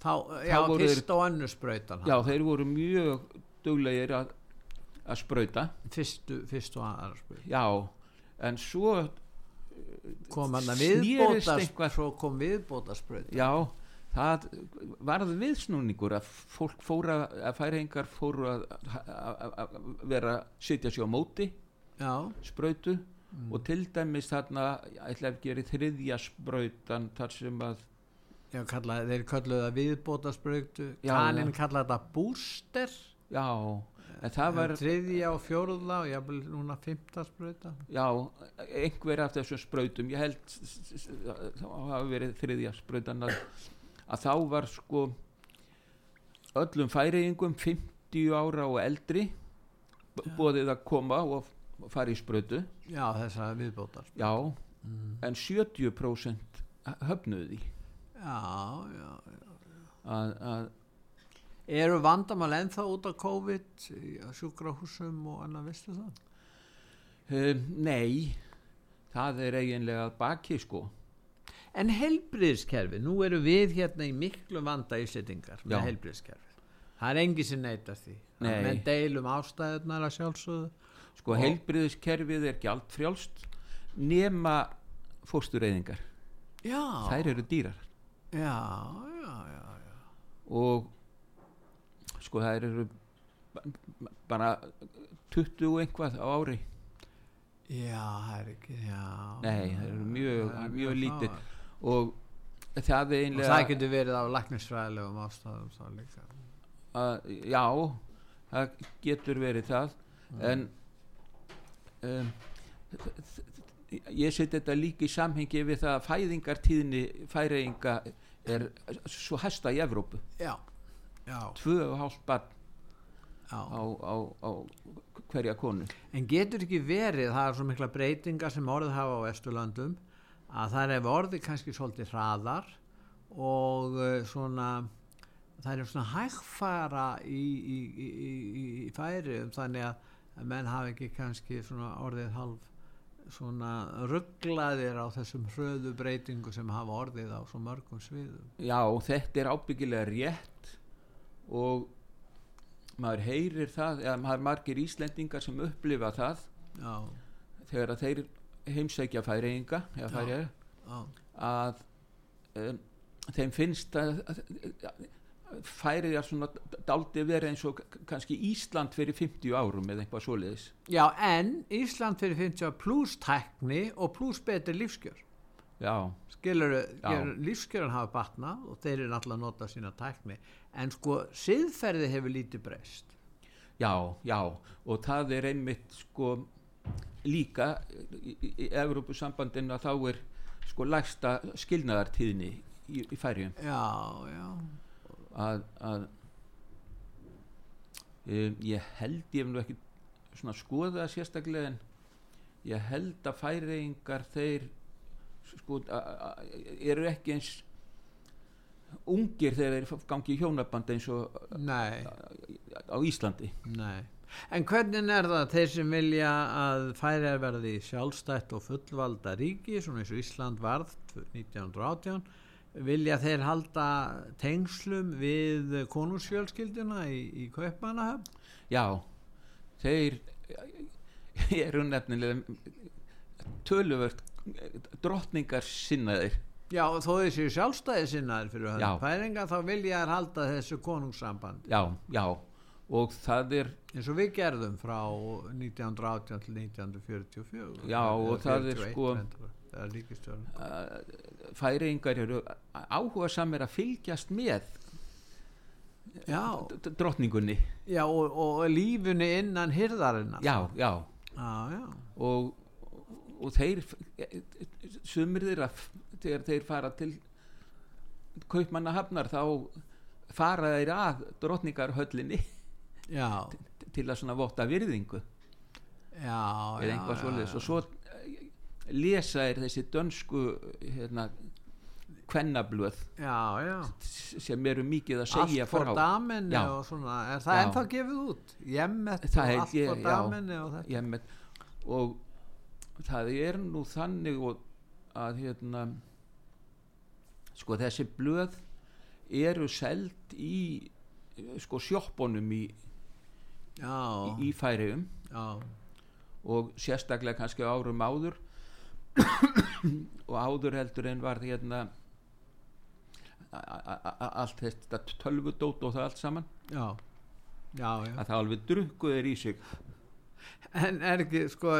þá, já,
voru þeir-
fyrst og önnur sprautan
já, þeir voru mjög duglegir að, að sprauta
fyrstu, fyrstu og aðra spurning
já, en svo
kom hann að
Snerist
viðbóta
eitthvað?
svo kom viðbóta spröð
Já, það varð viðsnúningur að fólk fóra, að færingar fóru að, að, að- að vera sitja sér á móti
já,
sprautu og til dæmis þarna, ég ætla ekki verið þriðja sprautan þar sem að
já kalla, þeir kalluðu það viðbóta spröð
Já,
kaninn
já.
kallaði þetta búster
já, en það var
en þriðja og fjórða og jafnvel núna fymta spröða
já, einhver af þessum sprautum ég held s- s- s- það hafi verið þriðja sprautan að, að þá var sko öllum færiðingum 50 ára og eldri bóðið að koma og f- fara í sprautu
já, þessa viðbóta
já, en 70% höfnuði því
já, já, já, já.
að, að
Eru vandamál ennþá út af COVID, sjúkrahúsum og annað, veistu það?
um, nei það er eiginlega að baki sko
En helbriðskerfi, nú eru við hérna í miklu vanda íslitingar
Já.
með helbriðskerfi. Það er engi sem neytar því.
Nei.
Menn deilum ástæðunar að sjálfsögðu.
sko
Og-
heilbriðiskerfið er gjald frjálst nema fóstureyðingar
Já.
þær eru dýrar
Já, já, já. já.
og sko þær eru ba- bara 20 og eitthvað á ári
Já, það er ekki, já.
Nei, það eru mjög-
Það er
mjög lítið.
fáar.
og það er
Og
einlega
það getur verið á læknisfræðilegum ástæðum þá líka.
að, já það getur verið það en um, ég seti þetta líka í samhengi við það að fæðingartíðni færeyinga er svo hæsta í Evrópu
Já, já,
tvö og hálft barn
já.
á, á, á hverja konu
En getur ekki verið, það er svo mikla breytingar sem orðið hafa á Vesturlandum að það er orðið kannski svolítið hraðar og eh, svona það er svona hægfara í, í, í, í, í færiðum þannig að að menn hafa ekki kannski svona orðið halv svona rugglaðir á þessum hröðu breytingu sem hafa orðið á svo mörgum sviðum.
já þetta er ábyggilega rétt og maður heyrir það eða maður margir Íslendingar sem upplifa það
Já,
þegar að þeir heimsækja færeyinga eða
Já.
færeyja
já,
að um, þeim finnst að, að, að færið er svona daldi verið eins og k- kannski Ísland fyrir 50 árum eða eitthvað svoleiðis
já en Ísland fyrir 50 pluss tækni og pluss betri lífskjör.
já,
skilur,
Já.
lífskjörn hafa batnað og þeir eru náttúrulega að nota sína tækni en sko, siðferði hefur lítið breyst
já, já og það er einmitt sko líka í, í- í Evrópusambandinu að þá er sko lægsta skilnaðartíðni í, í færjum
já, já
að, að um, ég held ég hef nú ekki svona skoða það sérstaklega en ég held að færeyingar þeir sko, a, a, eru ekki eins ungir þegar þeir gangi í hjónaband eins og
nei,
á Íslandi
nei en hvernig er það að þeir sem vilja að færiðar verði sjálfstætt og fullvalda ríki, svona eins og Ísland varð 1918 vilja þeir halda tengslum við konungsfjölskylduna í, í Kaupmannahöfn
já, þeir eru nefnilega töluvert drottningar sinnaðir
Já, og þó þessi sjálfstæði sinnaðir fyrir
Já.
höfn færinga þá vilja þær halda þessu konungssamband
já, já, og það er
eins og við gerðum frá 1918 til 1944
Já,
Eða
og það er
41
sko-
reyndar, eða ríkisstjórn.
uh, færeyingar eru áhuga samir að fylgjast með
já,
d- d- drottningunni
já og, og lífunni innan hyrðarinnar
já, já
já, já,
og, og þeir sumir þeirra f- þegar þeir fara til kaupmanna hafnar þá fara þeir að drottningarhöllinni
já,
til að svona votta virðingu
já
eða einhvað svoleiðis og svo eh, lesa er þessi dönsku hérna kvennablöð
já, já
sem eru mikið að segja
allt fór
frá
daminu
Já.
og svona er það
Já.
ennþá gefið út jemmet og
Það er-
allt fór
ég- já.
daminu og þetta
Ég með, og það er nú þannig og, að hérna sko þessi blöð eru seld í eh, sko sjoppunum í,
já,
í færiðum
já,
og sérstaklega kannski á árum áður og áður heldur en var hérna a- a- a- a- allt þetta tölvudót og það allt saman
já já, já
að það alveg drukkuðir í sig
En er ekki, sko,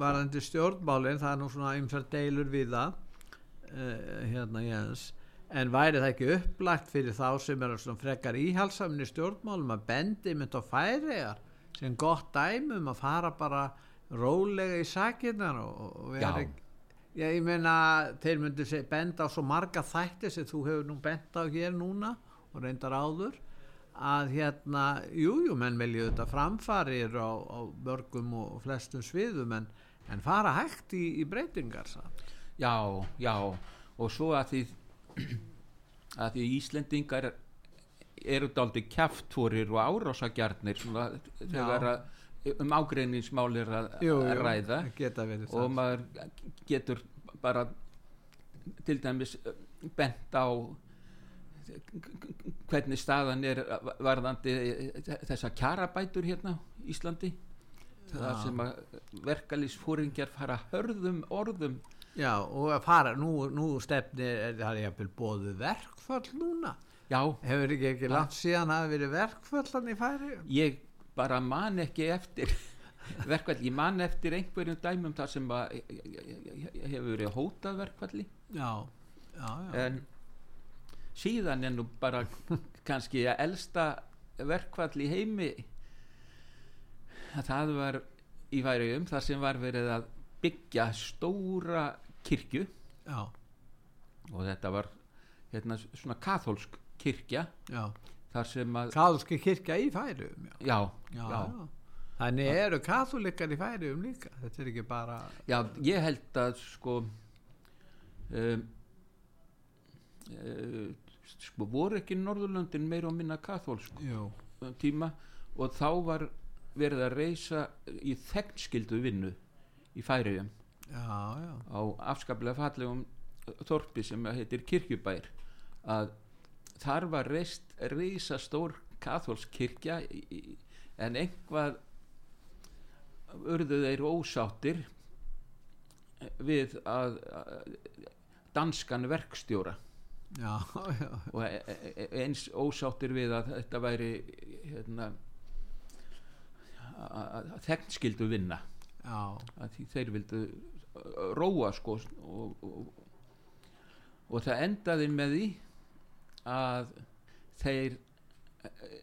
varandi stjórnmálinn, það er nú svona ymsar deilur við það, uh, hérna Jens, en væri það ekki upplagt fyrir þá sem eru svona frekar íhalsamni stjórnmálum að bendi mynd á færiðar sem gott dæmum að fara bara rólega í sakinnar og, og
Já.
vera ekki, Já, ég meina, þeir myndu seg- benda á svo marga þætti sem þú hefur nú bent á hér núna og reyndar áður að hérna, jújú, jú, menn vilja þetta framfarir á, á mörgum og flestum sviðum en, en fara hægt í, í breytingar samt.
Já, já og svo að því að því Íslendingar eru daldi kjaftúrir og árásagjarnir svona, þegar að um ágreiningsmál er að,
Jú,
að
jú,
ræða
það geta verið
og
það.
maður getur bara til dæmis eh, bent á hvernig staðan er varðandi þessa kjarabætur hérna á Íslandi það
Já.
sem að verkalýsfóringjar fara hörðum orðum
Já, og að fara, nú, nú stefni er það er jafnvel bóðu verkfall núna.
já,
Hefur ekki ekki
Já.
langt síðan að hafi verið verkfallan í færi?
ég bara man ekki eftir verkvall, ég man eftir einhverjum dæmum þar sem að eh, hefur verið hótað verkvalli
Já, já, já.
en síðan er nú bara kannski að elsta verkvall í heimi að það var í færiðum þar sem var verið að byggja stóra kirkju
já,
og þetta var hérna, svona katholsk kirkja
já.
þar sem að
Kálski kirkja í færiðum, já.
já,
já. já. Þannig eru katholikar í færiðum líka. Þetta er ekki bara...
Já, ég held að sko um, uh, sko voru ekki Norðurlöndin meira og minna kathólsk
Jú,
um tíma og þá var verið að reysa í þegnskildu vinnu í Færiðum
já, já.
á afskaplega fallegum þorpi sem að heitir Kirkjubær að þar var reist reysa stór kathólsk kirkja í- í- en einhvað urðu þeir ósáttir við að að danskan verkstjóra
Já, já,
og e- e- e- eins ósáttir við að þetta væri hérna þegnskildu vinna
já,
að því þeir vildu uh, róa sko og, og, og það endaði með því að þeir eh,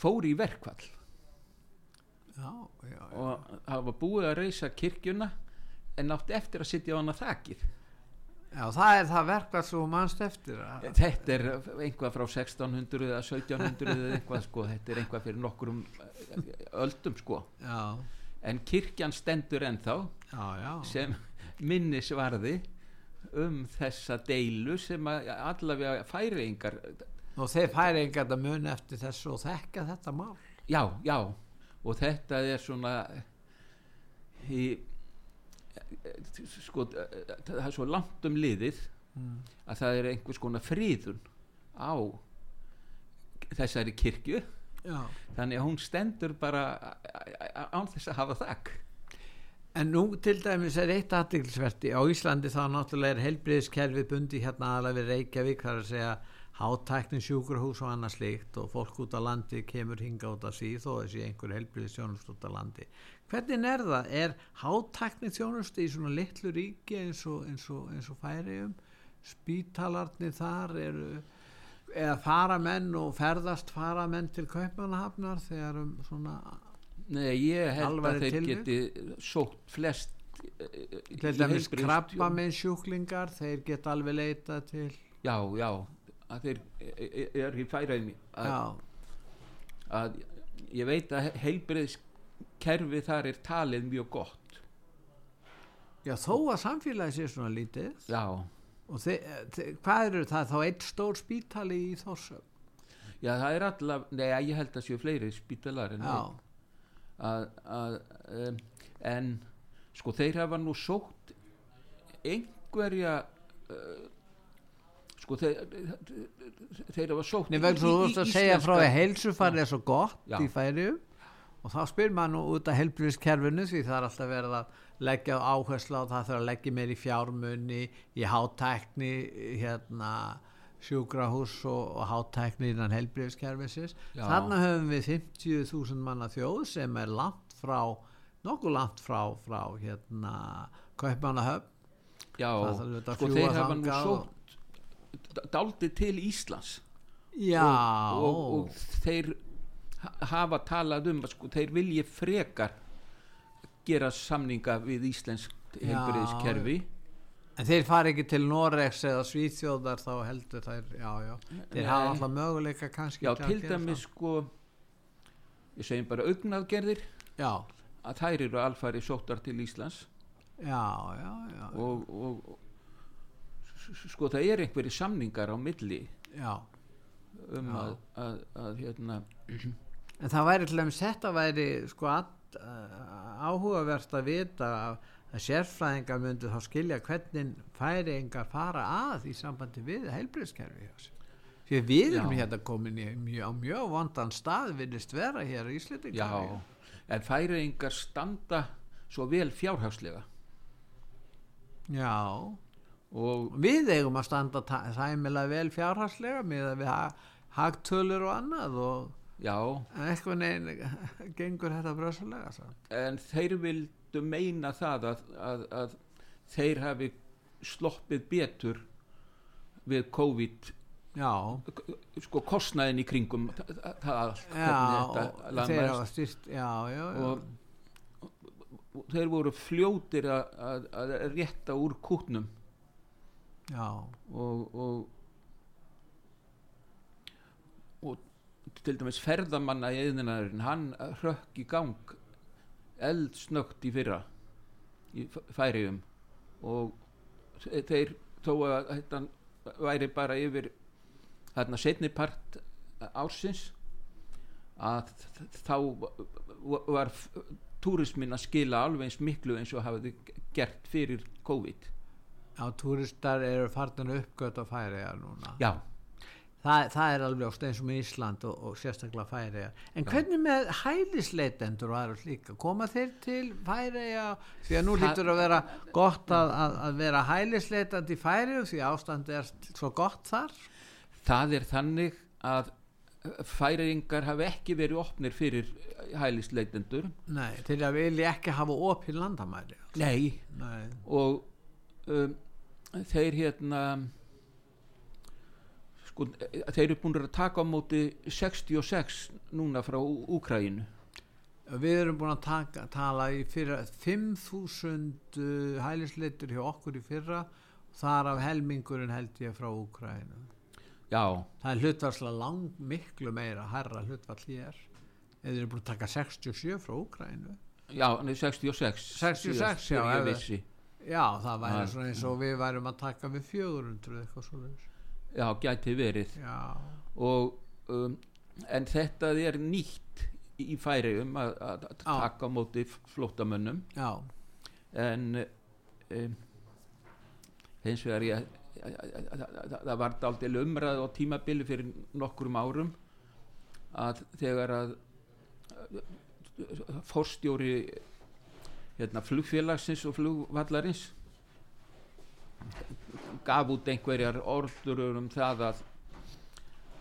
fóru í verkvall
já, já, já.
og það var búið að reysa kirkjuna en átti eftir að sitja á hana þakir
Já, það er það verkvall sem þú manst eftir að...
þetta er einhvað frá 1600 eða 1700 eða einhvað sko þetta er einhvað fyrir nokkrum eh, öldum sko
Já,
en kirkjan stendur ennþá
já, já.
sem minnisvarði um þessa deilu sem að allavega færiðingar
Og þeir færi engan að muna eftir þessu og þekka þetta mál.
já, já og þetta er svona í sko, það er svo langt um liðið
Mm.
að það er einhvers konar fríðun á þessari kirkju
Já.
þannig að hún stendur bara án þess að hafa þakk
En nú til dæmis er eitt aðdeglisverti á Íslandi þá náttúrulega er helbriðiskerfið bundi hérna aðalega við Reykjavík þar að segja hátækni sjúkurhús og annað slíkt og fólk út á landi kemur hinga út að sí þó þessi einhver helbriðisjónust út á landi. Hvernig er það? Er hátækni þjónust í svona litlu ríki eins og, eins og, eins og færium? Spítalarnir þar eru eða faramenn og ferðast faramenn til kaupmannahafnar þegar um svona
Nei, ég held
Alvarleg
að þeir
tilvik?
geti sótt flest eh,
til dæmis krabba með sjúklingar þeir geta alveg leita til
já, já að þeir e- e- eru í færaðum að,
já,
að ég veit að heilbreiðskerfi þar er talið mjög gott
já þó að samfélagi sé svona lítið
já,
og þe þe hvað eru það þá eitt stór spítali í Þorsög
já það er allavega, nei ég held að séu fleiri spítalar en
já,
einn. að, að, um, en sko þeir hafa nú sótt einhverja uh, sko þeir þeir hafa sótt
nefnir svo þú veist að segja frá því að heilsufarið er svo gott
Já.
í færium og þá spyr maður nú út af helbriðiskerfinu því það er alltaf verið að leggja áhersla og það þarf að leggja meir í fjármunni í hátækni hérna sjúkrahús og, og hátækni innan helbriðiskerfisins
Já.
þarna höfum við 50.000 manna þjóð sem er langt frá nokkuð langt frá, frá hérna kaupmannahöfn
já,
Það þarf auðvitað að
sko
fljúga
þeir hafa nú
þangað og-
sótt daldið til Íslands
já
og, og, og þeir ha- hafa talað um að sko, þeir vilji frekar gera samninga við Íslensk
Já.
heilbriðiskerfi
En þeir fari ekki til Noregs eða Svíþjóðar þá heldur þær, já, já, þeir
Nei.
hafa alltaf möguleika kannski
já
ekki að
til
gera
dæmis sko ég segjum bara augnaðgerðir
það. Já,
að þær eru alfari sóttar til Íslands
já, já, já,
og, og, og sko það er einhverju samningar á milli
já.
um
Já.
að, að, að hérna,
En það væri til dæmis þetta væri sko at, áhugavert að vita að, að sérfræðingar myndu þá skilja hvernig færingar fara að í sambandi við heilbriðskerfi hjá sér. Því að við erum
Já.
hérna komin í mjög, á mjög vondan stað viljast vera hér í
já
Íslendingar.
en færiðingar standa svo vel fjárhagslega
Já.
og
Við eigum að standa tæ- sæmilega vel fjárhagslega með að við ha hagtölur og annað og
já,
en eitthvað neginn gengur þetta brössulega. samt.
en þeir vildu meina það að, að, að þeir hafi sloppið betur við COVID
Já.
sko kostnaðin í kringum þa- þa- það allt,
Já,
hvernig þetta
og þeir hafa
lamaðist.
styrt, já, já, já.
og og þeir voru fljótir að, að, að rétta úr kútnum
já,
og, og og til dæmis ferðamanna í eðinarinn hann hrökk í gang eldsnögt í fyrra í F- færiðum og þe- þeir þó að þetta væri bara yfir þarna setni part ársins að þ- þá v- var f- túrismin að skila alveg eins miklu eins og hafði g- gert fyrir COVID
já, túristar eru farnir uppgöt á færiðar núna.
já,
Þa, það er alveg ást eins og með Ísland og, og sérstaklega færiðar. En hvernig með hælisleitendur og aðra slíka? Koma þeir til færiða? Því að nú
Það-
lítur að vera gott að, að, að vera hælisleitandi í færiðu því að ástandi er svo gott þar.
Það er þannig að færingar hafa ekki verið opnir fyrir hælisleitendur
Nei, til að vilja ekki hafa opið landamæri.
Nei.
Nei,
og um, þeir hérna sko, þeir eru búin að taka á móti 66 núna frá Úkræinu
Við erum búin að taka, tala í fyrra 5.000 hælisleitur hjá okkur í fyrra þar af helmingurinn held ég frá Úkræna.
Já,
Það er hlutvarslega lang miklu meira herra hlutvall hér. Eða þeir eru búin að taka 67 frá Úkrænu.
já, nei, 66
66,
síðast,
já,
ég
ef-
vissi
Já, það væri
Það-
svona eins og við værum að taka við 400 eitthvað svo
Já, gæti verið
Já,
og, um, en þetta er nýtt í færiðum að, að að
Já.
taka á móti flóttamönnum
já,
en um, hins vegar ég það- það var daldil umræð á tímabili fyrir nokkrum árum að þegar að eh, forstjóri hérna, flugfélagsins og flugvallarins gaf út einhverjar orður um það að,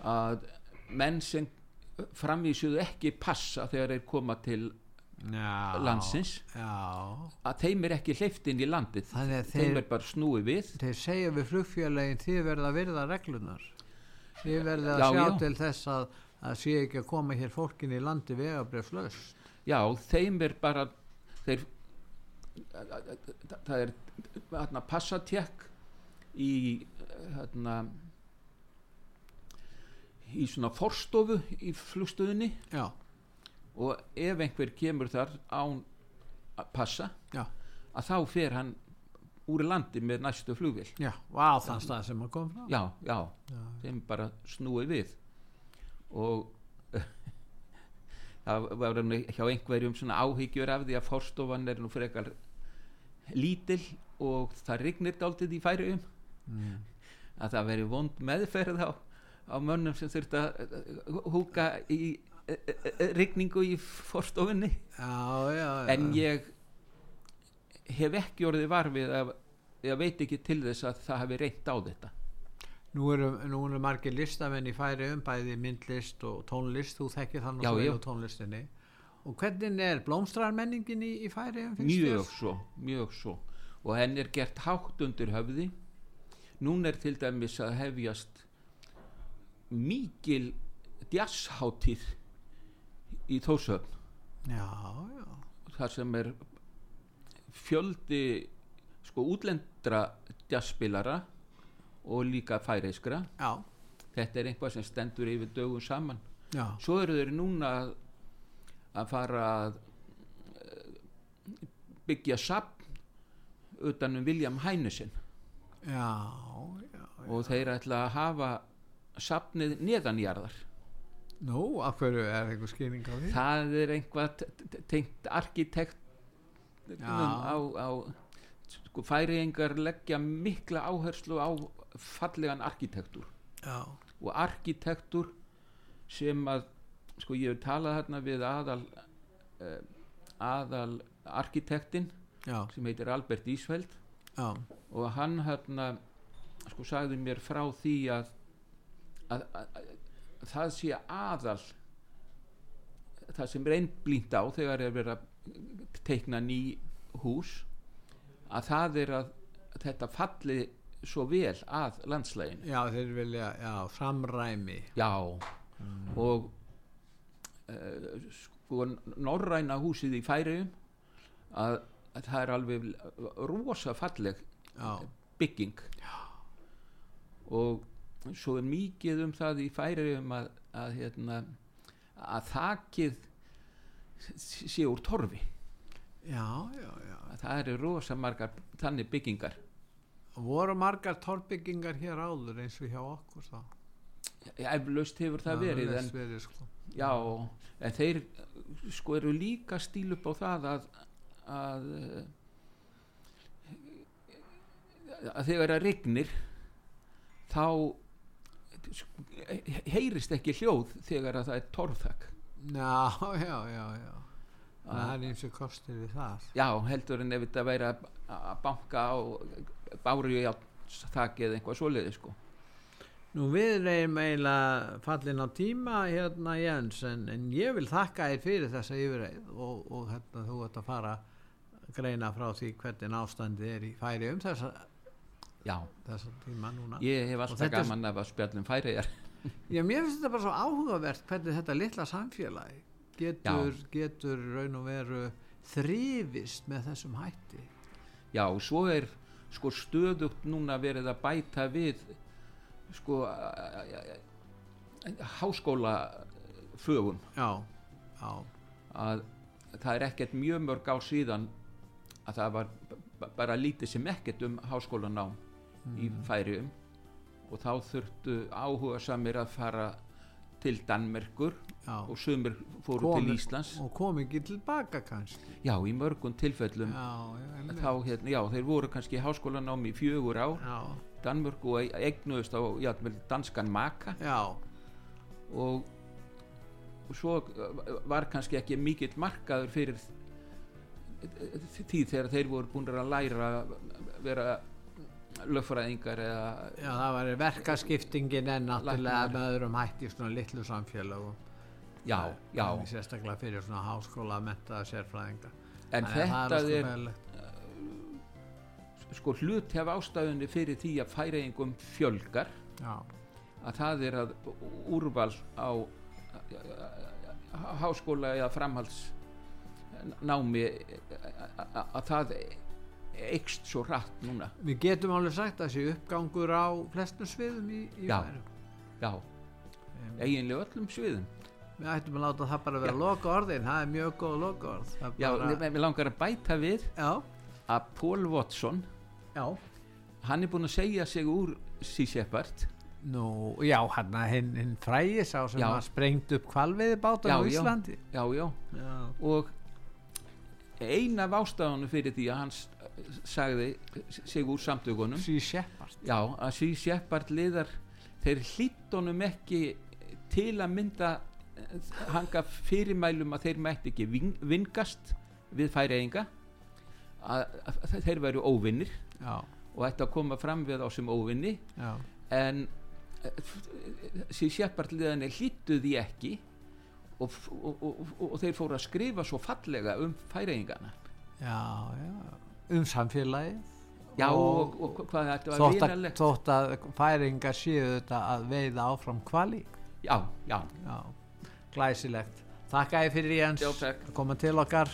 að menn sem framvísuðu ekki passa þegar þeir koma til
já.
Landsins.
Já,
að þeim er ekki hleyft inn í landið
þannig að
þeim
þeir
er bara snúið við
þeir segja við flugfélagin þið verða að virða reglunar þið verða að
Já,
sjá
já.
til þess að að sé ekki að koma hér fólkin í landi vegabrefslaus
já, þeim er bara þeir það er hérna, passatek í hérna í svona forstofu í flugstöðunni
já,
og ef einhver kemur þar án að passa
já,
að þá fer hann úr landi með næstu flugvél
já og á þann stað sem að kom frá
já, já,
já,
þeim bara snúið við og það var nú hjá einhverjum svona áhyggjur af því að fórstofan er nú frekar lítil og það rignir dálítið í færiðum
mm.
að það veri vond meðferð á, á mönnum sem þurft að eh, húka í eh, eh, rigningu í fórstofinni
já, já, já.
en ég hef ekki orðið varfið að ég veit ekki til þess að það hefði reynt á þetta
nú eru, nú eru margir listamenn í færi um bæði myndlist og tónlist þú þekkir þannig
Já,
svo vel
já.
úr tónlistinni og hvernig er blómstrarmenningin í, í færi um
mjög svo, mjög svo og henn er gert hátt undir höfði núna er til dæmis að hefjast mikil djasshátíð í Þórsöfn
já, já,
þar sem er fjöldi sko útlendra djassspilara og líka færeiskra
já,
þetta er einhvað sem stendur yfir dögum saman
já
svo eru þeir núna að- að fara að eh, byggja sapn utan um William Heinesen
já, já.
og þeir ætla að hafa safnið neðanjarðar
Nú, af hverju er eitthvað skýring á því?
það er einhvað t- t- tengt arkitekt á, á sko, færiðingar leggja mikla áherslu á fallegan arkitektúr
Já,
og arkitektúr sem að sko ég hef talað hérna við aðal eh, aðal arkitektinn
já,
sem heitir Albert Ísfeld
já,
og hann hérna sko sagði mér frá því að að, að, að það sé aðal það sem er einblínt á þegar er verið að teikna ný hús að það er að þetta falli svo vel að landslægin
já, þeir vilja, já, samræmi.
já og uh, sko norræna húsið í færiðum að, að það er alveg rosa falleg
Já,
bygging og svo er mikið um það í færiðum að, að, hérna, að þakið sé úr torfi
já, já, já.
að það eru rosa margar þannig byggingar
Voru margar torrbyggingar hér áður eins og hjá okkur þá?
eflaust hefur það verið en,
en... Verið, sko.
já, en þeir eh, sko eru líka stíl upp á það að að, eh, að þegar það rignir þá eh, sko, eh, heyrist ekki hljóð þegar að það er torfþak
Já, já, já, já. Það er eins og kostir við það.
Já, heldur en ef þetta væri að að banka á báru í þakki eða eitthvað svoleiði sko.
Nú við reyðum eiginlega fallin á tíma hérna Jens en, en ég vil þakka þér fyrir þessa yfirreið og, og hérna, þú ert að fara að greina frá því hvernig ástandið er í færi um þessa,
Já,
þessa tíma núna.
ég hef
Og
alltaf
þetta er-
gaman af að um spjallum færiðar.
Já, mér finnst þetta bara svo áhugavert hvernig þetta litla samfélagi getur, getur raun og veru þrýfist með þessum hætti.
Já, og svo er sko stöðugt núna verið að bæta við sko háskóla fögum
Já, já,
að það er ekkert mjög mörg á síðan að það var b- b- bara lítið sem ekkert um háskólanám í
Mm.
færium og þá þurftu áhuga samir að fara til Danmerkur
já.
og sumir fóru
Komu-
til Íslands
Og kom ekki tilbaka kannski.
já, í mörgum tilfellum
Já, já, einmitt.
þá, hérna, já, þeir voru kannski í háskólanám í fjögur ár
já,
Danmörku og e- eignuðust á já, danskan maka
já,
og og svo uh, var kannski ekki mikill markaður fyrir því þegar þeir voru búin að læra að vera löffræðingar eða
já, það var verkaskiptingin en náttúrulega
Læknar.
með öðrum hætti í svona litlu samfélagum.
já, já,
Sérstaklega fyrir svona háskóla að menta sérfræðinga.
en
Þannig að
þetta
það
er
er, er
sko hlut hef ástæðunni fyrir því að færeingum fjölgar
já,
að það er að úrval á háskóla eða framhaldsnámi að það eikst svo rætt núna
Við getum alveg sagt að sé uppgangur á flestum sviðum í, í
Já.
færum.
já,
Em,
eiginlega öllum sviðum
Við ættum að láta það bara vera loka orðin, það er mjög góð loka orð.
já,
bara,
mér langar að bæta við
já,
að Paul Watson
já.
hann er búinn að segja sig úr Sea Shepherd
Nú, já, hann að hinn, hinn fræði sá sem
Já.
að sprengt upp kvalveiðibátan
Já,
á
já.
Íslandi.
já, já,
Já,
og eina af ástafanum fyrir því að hann s- sagði sig úr samtökunum
sí Shepard.
Já, að Sví Shepard liðar þeir hlýtt honum ekki til að mynda eh, hanga fyrirmælum að þeir mætti ekki ving- vingast við færiðinga að, að að þeir væru óvinnir
Já,
og ætti að koma fram við þá sem óvinni
já,
en eh, Sví Shepard liðanir hlýttu því ekki og, f- og, og, og, og þeir fóru að skrifa svo fallega um færiðingana
já, já. Um samfélagið.
Já, og, og, hvað þetta var
þótt að,
vinalegt
þótt að færingar séu þetta að veiða áfram kvali.
Já, já,
Já, glæsilegt. Þakka ég fyrir Jens
Já, takk.
að koma til okkar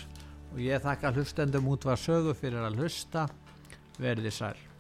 og ég þakka hlustendum út var sögu fyrir að hlusta. Verði sæl.